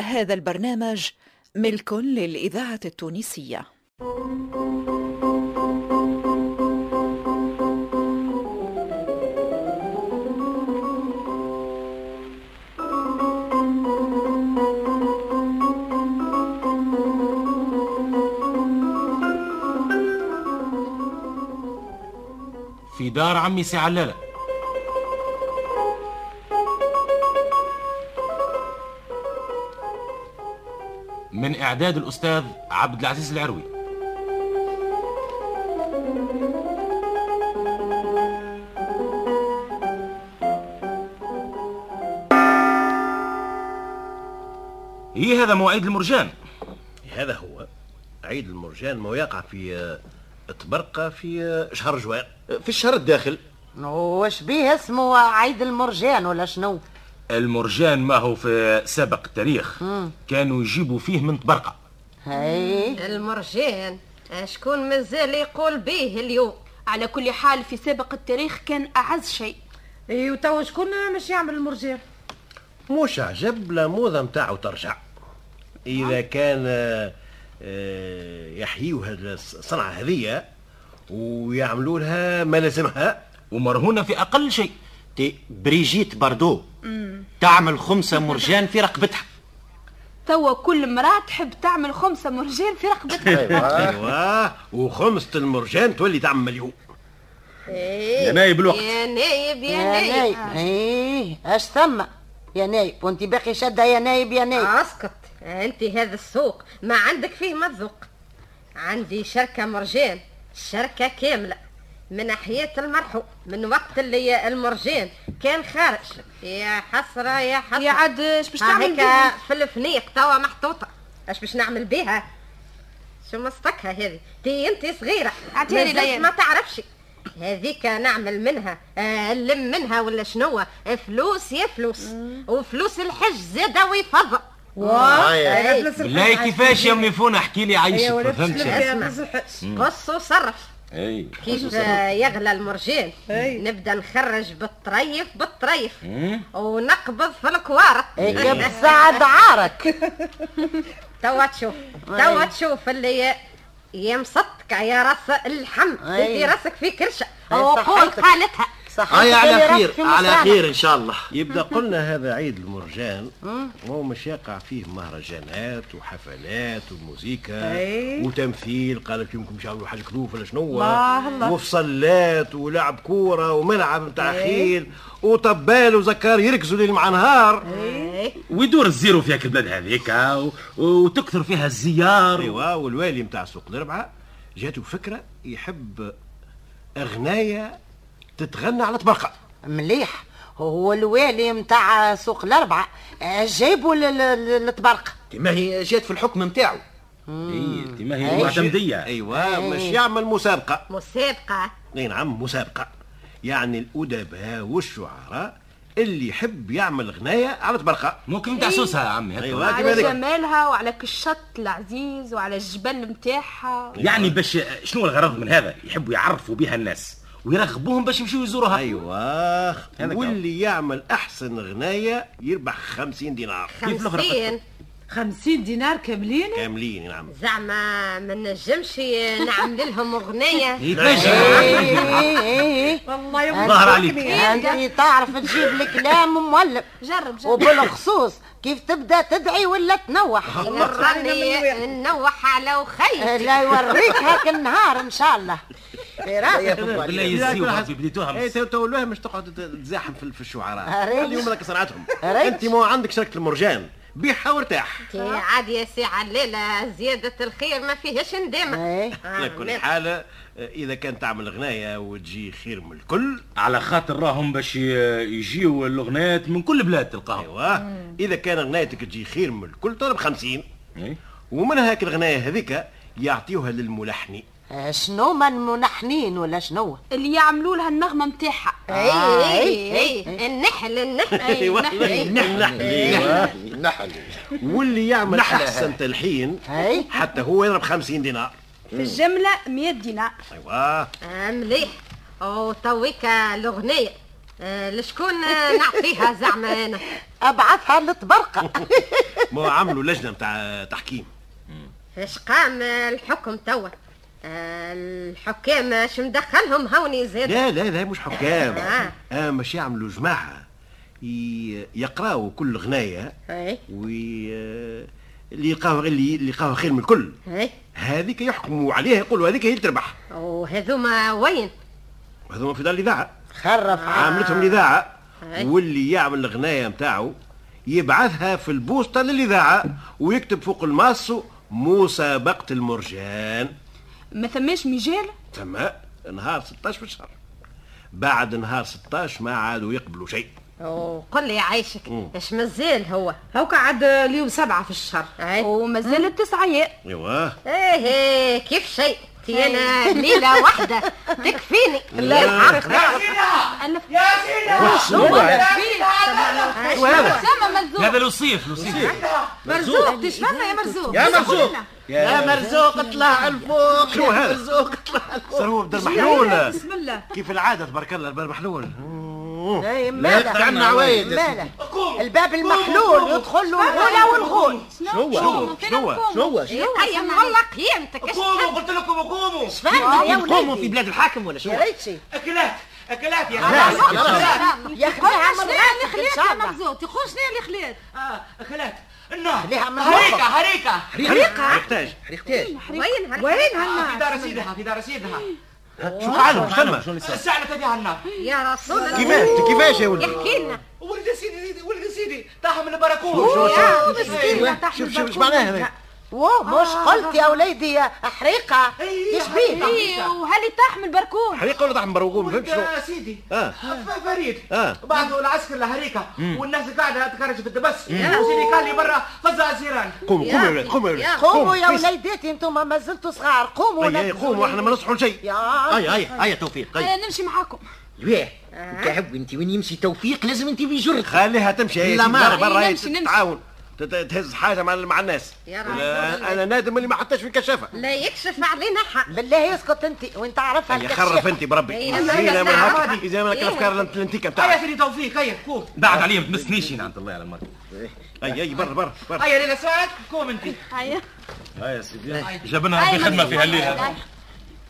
هذا البرنامج ملك للإذاعة التونسية في دار عمي سي علالة من إعداد الأستاذ عبد العزيز العروي إيه هذا مواعيد المرجان هذا هو عيد المرجان ما يقع في آه، تبرقة في آه، شهر جوان آه، في الشهر الداخل واش بيه اسمه عيد المرجان ولا شنو المرجان ما هو في سابق التاريخ كانوا يجيبوا فيه من تبرقة هاي المرجان شكون مازال يقول به اليوم على كل حال في سابق التاريخ كان أعز شيء اي وتوا أيوة، شكون مش يعمل المرجان مش عجب لا موضة متاعه ترجع إذا كان آه، آه، يحييو هذه الصنعة هذية ويعملوا لها ما لازمها ومرهونة في أقل شيء تي بريجيت باردو تعمل خمسة مرجان في رقبتها توا كل امرأة تحب تعمل خمسة مرجان في رقبتها ايوا أيوة، وخمسة المرجان تولي تعمل مليون يا نايب الوقت. يا نايب يا يا نايب نايب ايه اش ثم يا نايب وانت باقي شاده يا نايب يا نايب اسكت انت هذا السوق ما عندك فيه ما تذوق عندي شركة مرجان شركة كاملة من حياة المرحوم من وقت اللي المرجان كان خارج يا حسرة يا حسرة يا عاد اش باش ها تعمل هيك بيه؟ في الفنيق توا محطوطة اش باش نعمل بيها شو مصطكها هذه تي انت صغيرة أعطيها لي مازلت ليال. ما تعرفش هذيك نعمل منها آه، نلم منها ولا شنو فلوس يا فلوس وفلوس الحج زادة ويفضل آه، إي. بالله كيفاش يا امي فونا احكي لي عايشك ما فهمتش اسمع. قص وصرف اي كيف آه، يغلى المرجان نبدا نخرج بالطريف بالطريف ونقبض في الكوارت ايه سعد عارك توا تشوف توا تشوف اللي يمسطك يا راس اللحم أي. انت راسك في كرشه أي وقول صحتك. قالتها صح هيا آه، على تخيرك في خير على مصالح. خير إن شاء الله يبدا قلنا هذا عيد المرجان وهو مش يقع فيه مهرجانات وحفلات وموسيقى وتمثيل قالت يمكن مش يعملوا حاجه كلوف ولا شنو وفصلات ولعب كوره وملعب نتاع خيل وطبال وزكار يركزوا ليل مع نهار ويدور الزيرو في هاك البلاد هذيك و- وتكثر فيها الزيار ايوا أيوة، والوالي نتاع سوق الربعه جاته فكره يحب اغنيه تتغنى على طبقه مليح هو الوالي متاع سوق الاربعه آه، جايبوا لل- لل- للتبرق ما هي جات في الحكم نتاعو اي ما أيوة. أي. إيه. هي معتمدية ايوا أيوة، مش يعمل مسابقه مسابقه اي نعم مسابقة يعني الأدباء والشعراء اللي يحب يعمل غناية على طبرقة ممكن تاع سوسها يا عمي هكا. أيوة كما على ذيك جمالها وعلى كشط العزيز وعلى الجبل متاعها يعني باش شنو الغرض من هذا يحبوا يعرفوا بها الناس ويرغبوهم باش يمشيوا يزوروها أيوة هذاك واللي يعمل أحسن غناية يربح خمسين دينار كيف الأخرى؟ خمسين خمسين دينار كاملين كاملين نعم زعما ما نجمش نعمل لهم اغنيه يتنجم ايه ايه ايه ظهر عليك انت تعرف تجيب الكلام مولف جرب جرب وبالخصوص كيف تبدا تدعي ولا تنوح راني نوح على آه، وخي لا يوريك هاك النهار ان شاء الله في راسك بالله يزيو هذه بديتوها من اي إيه، تو تو الواحد مش تقعد ت- تزاحم في في الشعراء أريد. اليوم لك صنعتهم أريد. انت ما عندك شركه المرجان بيعها وارتاح عاد يا سي علالة زيادة الخير ما فيهاش ندامة إيه. على كل حال آه، اذا كان تعمل غنايه وتجي خير من الكل على خاطر راهم باش ي- يجيو اللغنات من كل بلاد تلقاهم ايوا اذا أيوة. كان غنايتك تجي خير من الكل تضرب خمسين إيه. ومن هاك الغنايه هذيك يعطيوها للملحن آه، شنو من منحنين ولا شنو اللي يعملوا لها النغمة متاعها اي اي اي النحل النحل أيوة، أي، أيوة. واللي يعمل احسن تلحين أي. حتى هو يضرب 50 دينار أيوة. في الجملة 100 دينار ايوا آه، مليح وطويك الأغنية آه، لشكون آه، نعطيها زعما انا ابعثها للطبرقه ما عملوا لجنه نتاع تحكيم اش قام آه، الحكم توا آه، الحكام اش مدخلهم هوني زاد لا لا لا مش حكام آه. اه مش يعملوا جماعه ي- يقراوا كل غنايه اي وي اللي يلقاه اللي اللي يلقاه خير من الكل اي هذيك يحكموا عليها يقولوا هذيك هي اللي تربح وهذوما وين هذوما في دار الاذاعه خرف عاملتهم الاذاعه أي. واللي يعمل الغنايه نتاعو يبعثها في البوسطه للاذاعه ويكتب فوق الماسو مسابقه المرجان ما ثماش مجال تما نهار 16 في الشهر بعد نهار 16 ما عادوا يقبلوا شيء وقل لي عايشك اش مازال هو هاكا عاد اليوم سبعة في الشهر اي ومازال التسعة يا ايواه ايه كيف شيء تي انا ليله واحده تكفيني لا ألف سما مرزوق هذا لصيف لصيف مرزوق تشفنا يا مرزوق يا مرزوق يا مرزوق اطلع الفوق شو هذا؟ مرزوق اطلع الفوق صار هو بدر محلول بسم الله كيف العاده تبارك الله بدر محلول لا إيه، ماله تعنى عوايد يا سيدي. ماله الباب المحلول يدخل له الغلا والغول شنو شنو شنو شنو هيا إيه، معلق قيمتك اش قوموا قلت لكم قوموا شفنا يا قوموا في ولدي بلاد الحاكم ولا شو يا ريتشي اكلات اكلات يا خلاص، أخي. خلاص. يا خليها قول شنو مرات اللي ان خليت شاء يا الله مرزوق تقول شنو اللي خليت آه، اكلات النار خليها من هريكه فوق. هريكه حريقه يحتاج وين هل- وين آه، في هالناس دار سيدها في دار سيدها شو فعلهم شنو السعلة فيها النار يا رسول الله كيفاش كيفاش يا ولدي احكي لنا ولد سيدي ولد سيدي طاح من إيه. البراكون شو- شو- يا شو- مسكينة شوف شوف شو معناها هذا؟ واه مش قلت يا وليدي يا حريقه إيه، ايش بيه أيوة. إيه، وهل طاح من البركون حريقه ولا تحمر وقوم فهمت شنو يا سيدي آه. ف- فريد آه. بعده العسكر الهريكه والناس قاعده تكرج في الدبس وسيدي قال لي برا فزع الجيران قوموا قوموا يا ولاد قوموا يا ولاد قوموا يا وليداتي انتم ما زلتوا صغار قوموا اي نبذوا أيوة، قوموا احنا ما لي. نصحوا لشيء آه، يا هيا هيا هيا توفيق أنا نمشي معاكم ليه آه. انت حب انت وين يمشي توفيق لازم انت بجرتك خليها تمشي هي لا، ما برا- رأيي برا هي نمشي، نمشي. تتعاون تت- تهز حاجه مع مع الناس يا رب. لا، انا نادم اللي ما حطيتش في الكشافه لا يكشف علينا حق بالله اسكت انت وانت عارفها يا خرف الكشافه انت بربي إيه، زين لا، لا، من هك عادي. زين من هك إيه. الافكار الانت- الانتيكه هيا بتاعك سيدي توفيق هيا قوم بعد عليه ما تمسنيش نعم. هنا عند الله على المرض أيوة. اي اي برا برا برا هيا ليلى ساعات قوم انت أيوه. هيا هيا أيوة. سيدي جبنا في خدمه في هالليله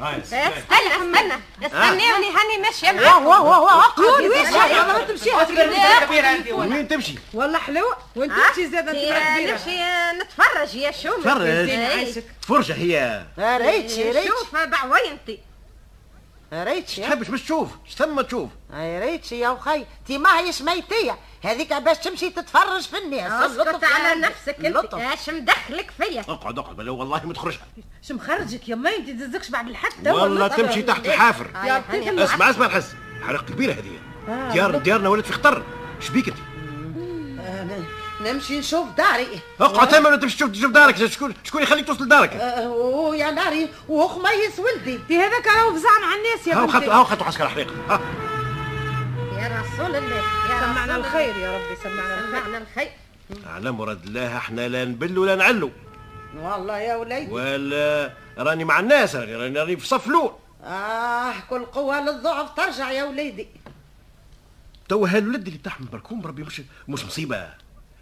استنى نعم. استنى آه. استنوني هاني ماشيه واه معاكم واه واه واه اقعد وين يا ما تمشي أتقل من ذلك كبيرة أنت. وين تمشي والله حلو وانت ها؟ تمشي زاد انت يا مرة كبيرة. نمشي نتفرج يا شو تفرج. إيه. عايشك. فرجه هي يا ريتشي ريتشي شوف بعوينتي يا ريتشي تحبش مش تشوف اش ثم تشوف يا ريتشي يا وخي تي ما هيش ميتية هذيك باش تمشي تتفرج في الناس آه، آه، اسكت اللطف على يعني. نفسك انت آه، اللطف اش مدخلك فيا اقعد اقعد بلا والله ما تخرجها شو مخرجك يا ما انت تزكش بعد الحد توا والله اللطف. تمشي تحت الحافر يا ربي اسمع اسمع الحس حرق كبيره هذه آه. ديار ديارنا ولات في خطر شبيك انت آه، نمشي نشوف داري اقعد تما ولا تمشي تشوف تشوف دارك شكون شكون يخليك توصل آه، لدارك أه، ويا ناري وخميس ولدي انت هذاك راهو فزعنا على الناس يا هاو بنتي خطوا هاو خطوا عسكر حريق ها يا رسول الله يا سمعنا رسول الخير يا ربي سمعنا الخير سمعنا الخير على مراد الله احنا لا نبل ولا نعلو والله يا وليدي ولا راني مع الناس راني راني, راني في صف الاول اه كل قوة للضعف ترجع يا وليدي تو هالولد اللي طاح من بركون بربي مش مش مصيبه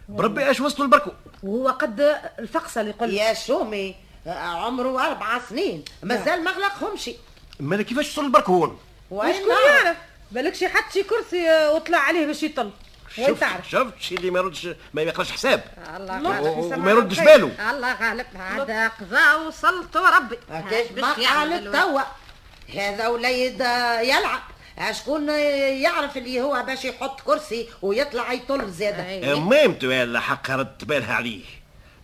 بربي اش وصلوا البركو وهو قد الفقصة اللي قلت يا شومي آه، عمره أربع سنين نعم. مازال ما غلقهمش مالا كيفاش وصل البركو هون وين نعم؟ وشكون يعرف بالك شي حط شي كرسي آه، وطلع عليه باش يطل وين شفت تعرف شفت شي اللي ما يردش ما يقراش حساب الله الله غالب و- يسمع وما يردش الخير. باله الله غالب هذا قضاء وصلته ربي كيف باش ما يعمل قالت الولد. توا هذا وليد آه، يلعب شكون يعرف اللي هو باش يحط كرسي ويطلع يطل زاده آه، أي. ميمتو يا حق ردت بالها عليه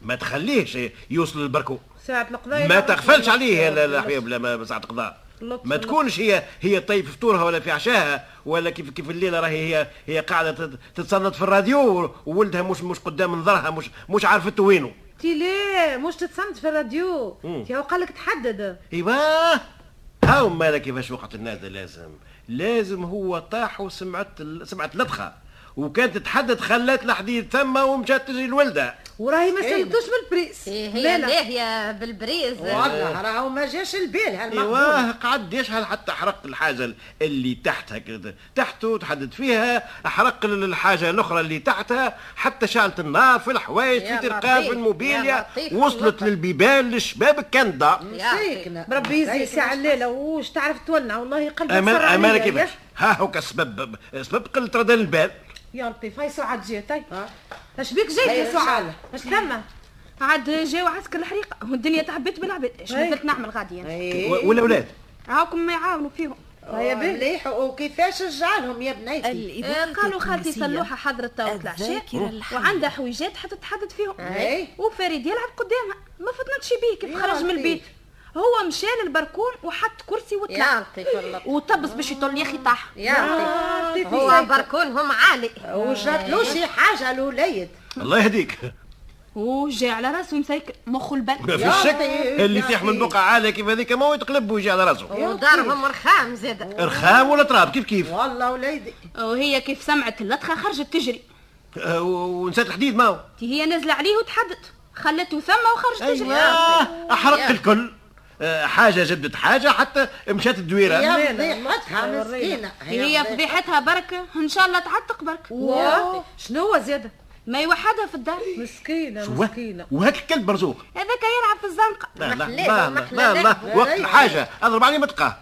ما تخليهش يوصل للبركو ساعة طيب، القضايا ما تغفلش عليه يا لا- لا حبيب لا ما ساعة قضاء لطف- ما لطف. تكونش هي هي طي في فطورها ولا في عشاها ولا كيف كيف الليله راهي هي هي قاعده تت- تتصنت في الراديو وولدها مش مش قدام نظرها مش مش عارفته وينه تي ليه مش تتصمت في الراديو تي هو قال لك تحدد ايوا إيوه. هاو مالك كيفاش وقت النادى لازم لازم هو طاح وسمعت ال- سمعت لطخه وكانت تتحدد خلات الحديد ثم ومشات تجري الولده وراهي ما سلتوش بالبريس إيه لا لا هي لاهية بالبريز والله راهو ما جاش البال هالمقبول ايوه قعد يشعل حتى حرق الحاجه اللي تحتها كده تحته تحدد فيها حرق الحاجه الاخرى اللي تحتها حتى شعلت النار في الحوايج يا في ترقان لطيف، في يا الموبيليا لطيف، وصلت لطيف. للبيبان للشباب كندا يا أخي. سيكنا. بربي يزيد سيكنا. ساعة الليلة وش تعرف تولنا والله قلبي امان صار امان عليا. كيفاش ها هوك سبب سبب قله ردان البال يا لطيف هاي سعاد جات هاي آه. طيب. اش بيك جيت هاي يا سعاد رسالة. اش ثم عاد جاو عسكر الحريق والدنيا تعبت بالعباد اش أي. مثلت نعمل غادي يعني إيه. و- ولا ولاد هاكم ما يعاونوا فيهم هيا مليح وكيفاش رجعلهم يا بنيتي إيه، آه، قالوا خالتي صلوحه حضرت توا العشاء الذاكرة الحية. وعندها حويجات حتى تحدد فيهم أي. وفريد يلعب قدامها ما فطنتش بيه كيف يا إيه؟ خرج من لطيف. البيت هو مشى للبركون وحط كرسي يا وطلع لطيف والله وطبس باش يطل يا اخي طاح يا لطيف. لطيف هو بركونهم عالي وجاتلو شي حاجة الوليد الله يهديك وجا على راسه مسيكل مخه ما البل في الشك لطيف، اللي يا يطيح من لطيف. بقعه عاليه كيف هذيك ما هو يتقلب ويجي على راسه ودارهم رخام زاد رخام ولا تراب كيف كيف والله وليدي وهي كيف سمعت اللطخه خرجت تجري آه، و- ونسيت الحديد ما هو تي هي نازله عليه وتحدت خلته ثم وخرجت تجري ايوه احرق الكل آه، حاجه جبدت حاجه حتى مشات الدويره يا فضيحتها مسكينة تي إيه هي فضيحتها بركه ان شاء الله تعتق برك واه شنو هو زيادة ما يوحدها في الدار مسكينة وه- مسكينة وهاك الكلب مرزوق هذاك يلعب في الزنقه لا لا لا لا محلاه، محلاه. لا أيوة، لا وقت الحاجه اضرب عليه متقه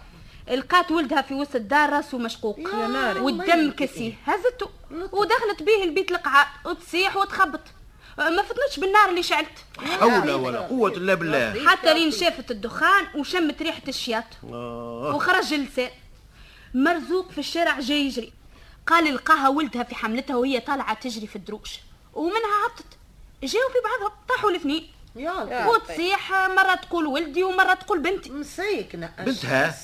لقات ولدها في وسط الدار راسه مشقوق والدم كسيه هزته ودخلت بيه البيت القعاء وتصيح وتخبط ما فطنتش بالنار اللي شعلت حول ولا أيوة. قوه الا بالله حتى لين شافت الدخان وشمت ريحه الشياط وخرج اللسان مرزوق في الشارع جاي يجري قال لقاها ولدها في حملتها وهي طالعه تجري في الدروش ومنها هبطت جاوا في بعضهم طاحوا الاثنين يا وتصيح مره تقول ولدي ومره تقول بنتي مسكينة بنتها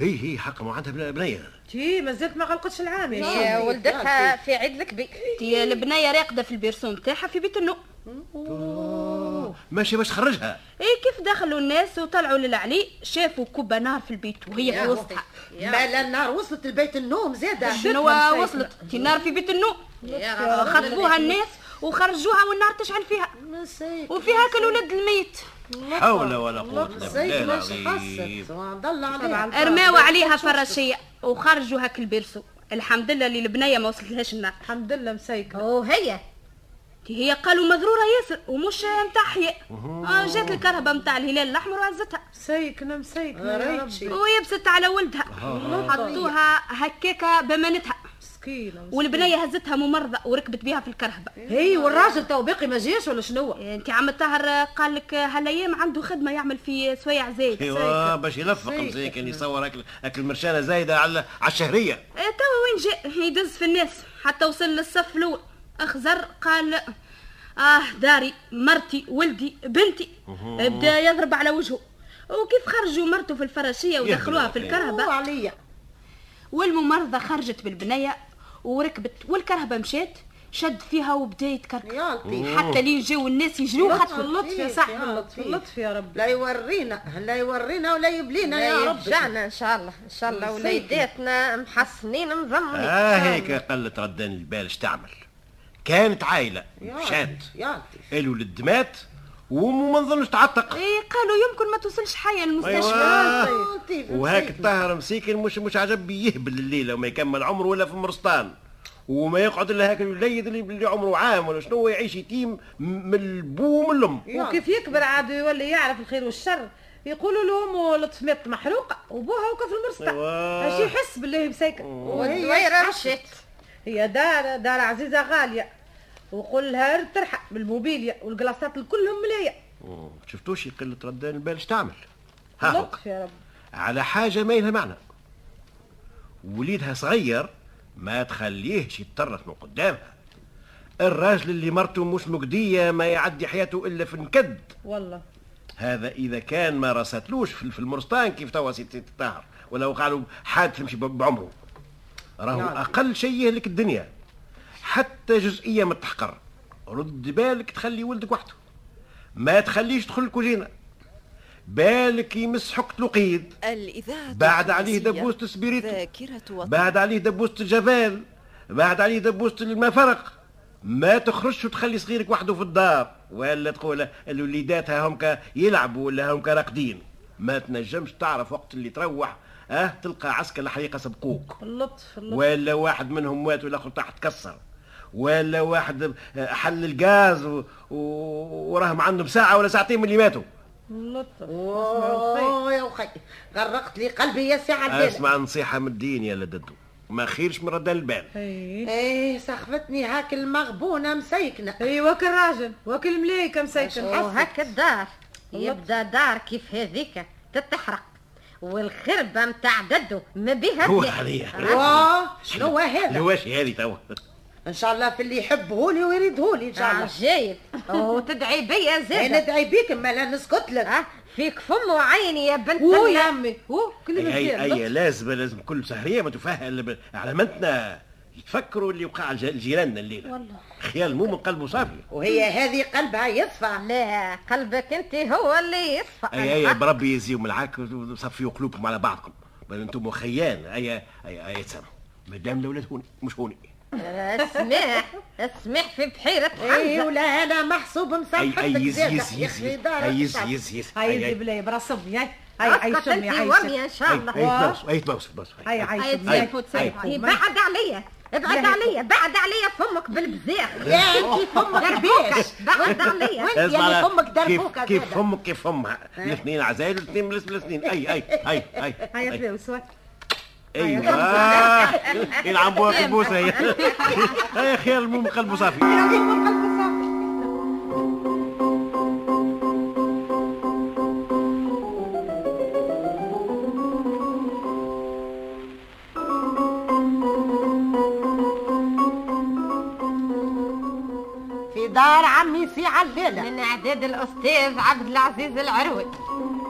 هي هي حق ما عندها بلا- بنيه تي مازلت ما غلقتش العام يا شيخ. هي ولدتها في عيد الكبير تي البنيه راقده في البيرسون تاعها في بيت النوم ماشي باش تخرجها ايه كيف دخلوا الناس وطلعوا للعلي شافوا كوبا نار في البيت وهي في وسطها ما لا النار وصلت لبيت النوم زادة شنو وصلت تي النار في بيت النوم آه، خطفوها الناس وخرجوها والنار تشعل فيها مسكينة وفيها كل ولد الميت حول ولا قوه الا بالله مسكينة شو العظيم قصت ضل عليها رماوا عليها فراشية وخرجوا هاك البرسو الحمد لله اللي البنية ما وصلتلهاش النار الحمد لله مسيكة وهي تي هي قالوا مضرورة ياسر ومش متاع حياء آه، جات الكرهبة متاع الهلال الأحمر وهزتها مسيكنا مسيكنا يا ربي ويبست على ولدها حطوها هكاكة بمانتها مسكينة والبنية هزتها ممرضة وركبت بيها في الكرهبة هي والراجل تو باقي ما جاش ولا شنو انت عم الطاهر قال لك هالايام عنده خدمه يعمل في سويع اه، زايد أيوة. ايوا آه، باش يلفق مساكن اللي يصور هاك هاك المرشانه زايده على على الشهريه اه، توا وين جاء يدز في الناس حتى وصل للصف الاول اخزر قال اه داري مرتي ولدي بنتي بدا يضرب على وجهه وكيف خرجوا مرته في الفراشيه ودخلوها في الكرهبه عليا والممرضه خرجت بالبنيه وركبت والكرهبه مشات شد فيها وبدا يتكركب يا لطيف حتى لين جاو الناس يجروا خطفوا اللطف يا صاحبي اللطف اللطف يا ربي لا يورينا لا يورينا ولا يبلينا يا رب رجعنا ان شاء الله ان شاء الله وليداتنا محسنين مضمنين اه هيك قله ردان البال اش تعمل كانت عائله مشات يا لطيف الولد مات وامه ما نظنش تعتق ايه قالوا يمكن ما توصلش حيه أيوة. أيوة. للمستشفى آه، ايوا يا لطيف وهاك مسكينة. الطاهر مسكين مش مش عجب يهبل الليله وما يكمل عمره ولا في مرستان وما يقعد الا هاك الوليد اللي- اللي عمره عام ولا شنو هو يعيش يتيم م- من البو ومن الام وكيف يكبر عاد يولي يعرف الخير والشر يقولوا لهم لطف مات محروقه وبوها وكا في المرصد إيوا. اش يحس بالله مسيكه والدويره مشات هي دار دار عزيزه غاليه وقول لها رد ترحق بالموبيليا والكلاصات الكلهم ملايا مم. شفتوش قله ردان البال اش تعمل ها هو لطف يا رب على حاجه ما لها معنى وليدها صغير ما تخليهش يتطرف من قدامها الراجل اللي مرته مش مجدية ما يعدي حياته إلا في النكد والله هذا إذا كان ما رستلوش في في المرستان كيف توا سيدي الطاهر ولو قالوا حادث يمشي ب- بعمره راهو أقل شيء يهلك الدنيا حتى جزئية ما تحقر رد بالك تخلي ولدك وحده ما تخليش يدخل الكوجينة بالك يمس حقت القيد الإذاعة بعد عليه التونسية. دبوس سبيريتو ذاكرة وطن بعد عليه دبوس الجبال بعد عليه دبوسة الماء فرق ما تخرجش وتخلي صغيرك وحده في الدار ولا تقول الوليدات ها همك يلعبوا ولا همك راقدين ما تنجمش تعرف وقت اللي تروح اه تلقى عسكر الحريقه سبقوك اللطف اللطف ولا واحد منهم مات والاخر تحت كسر ولا واحد اه، حل الغاز و... و... وراهم عندهم ساعه ولا ساعتين من اللي ماتوا اللطف اوه يا وخي غرقت لي قلبي يا ساعه الليل اسمع نصيحه من الدين يا لددو ما خيرش من ردان البال اي ايه سخفتني هاك المغبونه مسيكنه اي أيوة، وك الراجل وك الملايكه مسيكن وهكا الدار يبدا دار كيف هذيك تتحرق والخربه متاع ددو ما بيها هو فيها. آه. هذه. واه شنو هذا لواش هذه توا ان شاء الله في اللي يحبهولي ويريدهولي ان شاء آه، الله عجيب وتدعي بيا انا زاد ادعي بيك ما لا نسكت لك أه، فيك فم وعيني يا بنت وو يا الله. عمي وو كلمه اي خير اي, اللطف. أي لازم لازم كل سهريه ما تفهل ب- على متنا يتفكروا اللي وقع لج- لجيراننا الليله والله خيال مو من قلبه صافي وهي هذه قلبها يدفع لا قلبك انت هو اللي يصفى أه، اي اي بربي يزيهم العاك وصفيوا قلوبكم على بعضكم بل انتم خيال اي اي اي تسامحوا مادام الاولاد هوني مش هوني اسمح اسمح في بحيرة إيه، اي حمزة ولا انا محسوب اي مسامحتك اي يز زيادة. يز يا يز أخي يز دارك اي يز صعب. يز يز هاي اي يزي اي بلي برسمي هاي هاي اسقط هاي شمي انت هاي وامي شمي ان أي- شاء أي الله تبوس اي تبوس تبوس هاي هاي هاي شمي هاي تسيبوا هاي- تسيبوا بعد عليا ابعد عليا بعد عليا فمك بالبزاخ يا انت فمك دربوكك بيش بعد عليا وانت يعني فمك دربوك كيف كيف فمك كيف فمها الاثنين عزايز الاثنين من الاثنين اي اي اي اي هاي أي. تلاوس هاي ايوه يلعب بوك بوسه يا خير المهم قلبه صافي في دار عمي سي على الليله من اعداد الاستاذ عبد العزيز العروي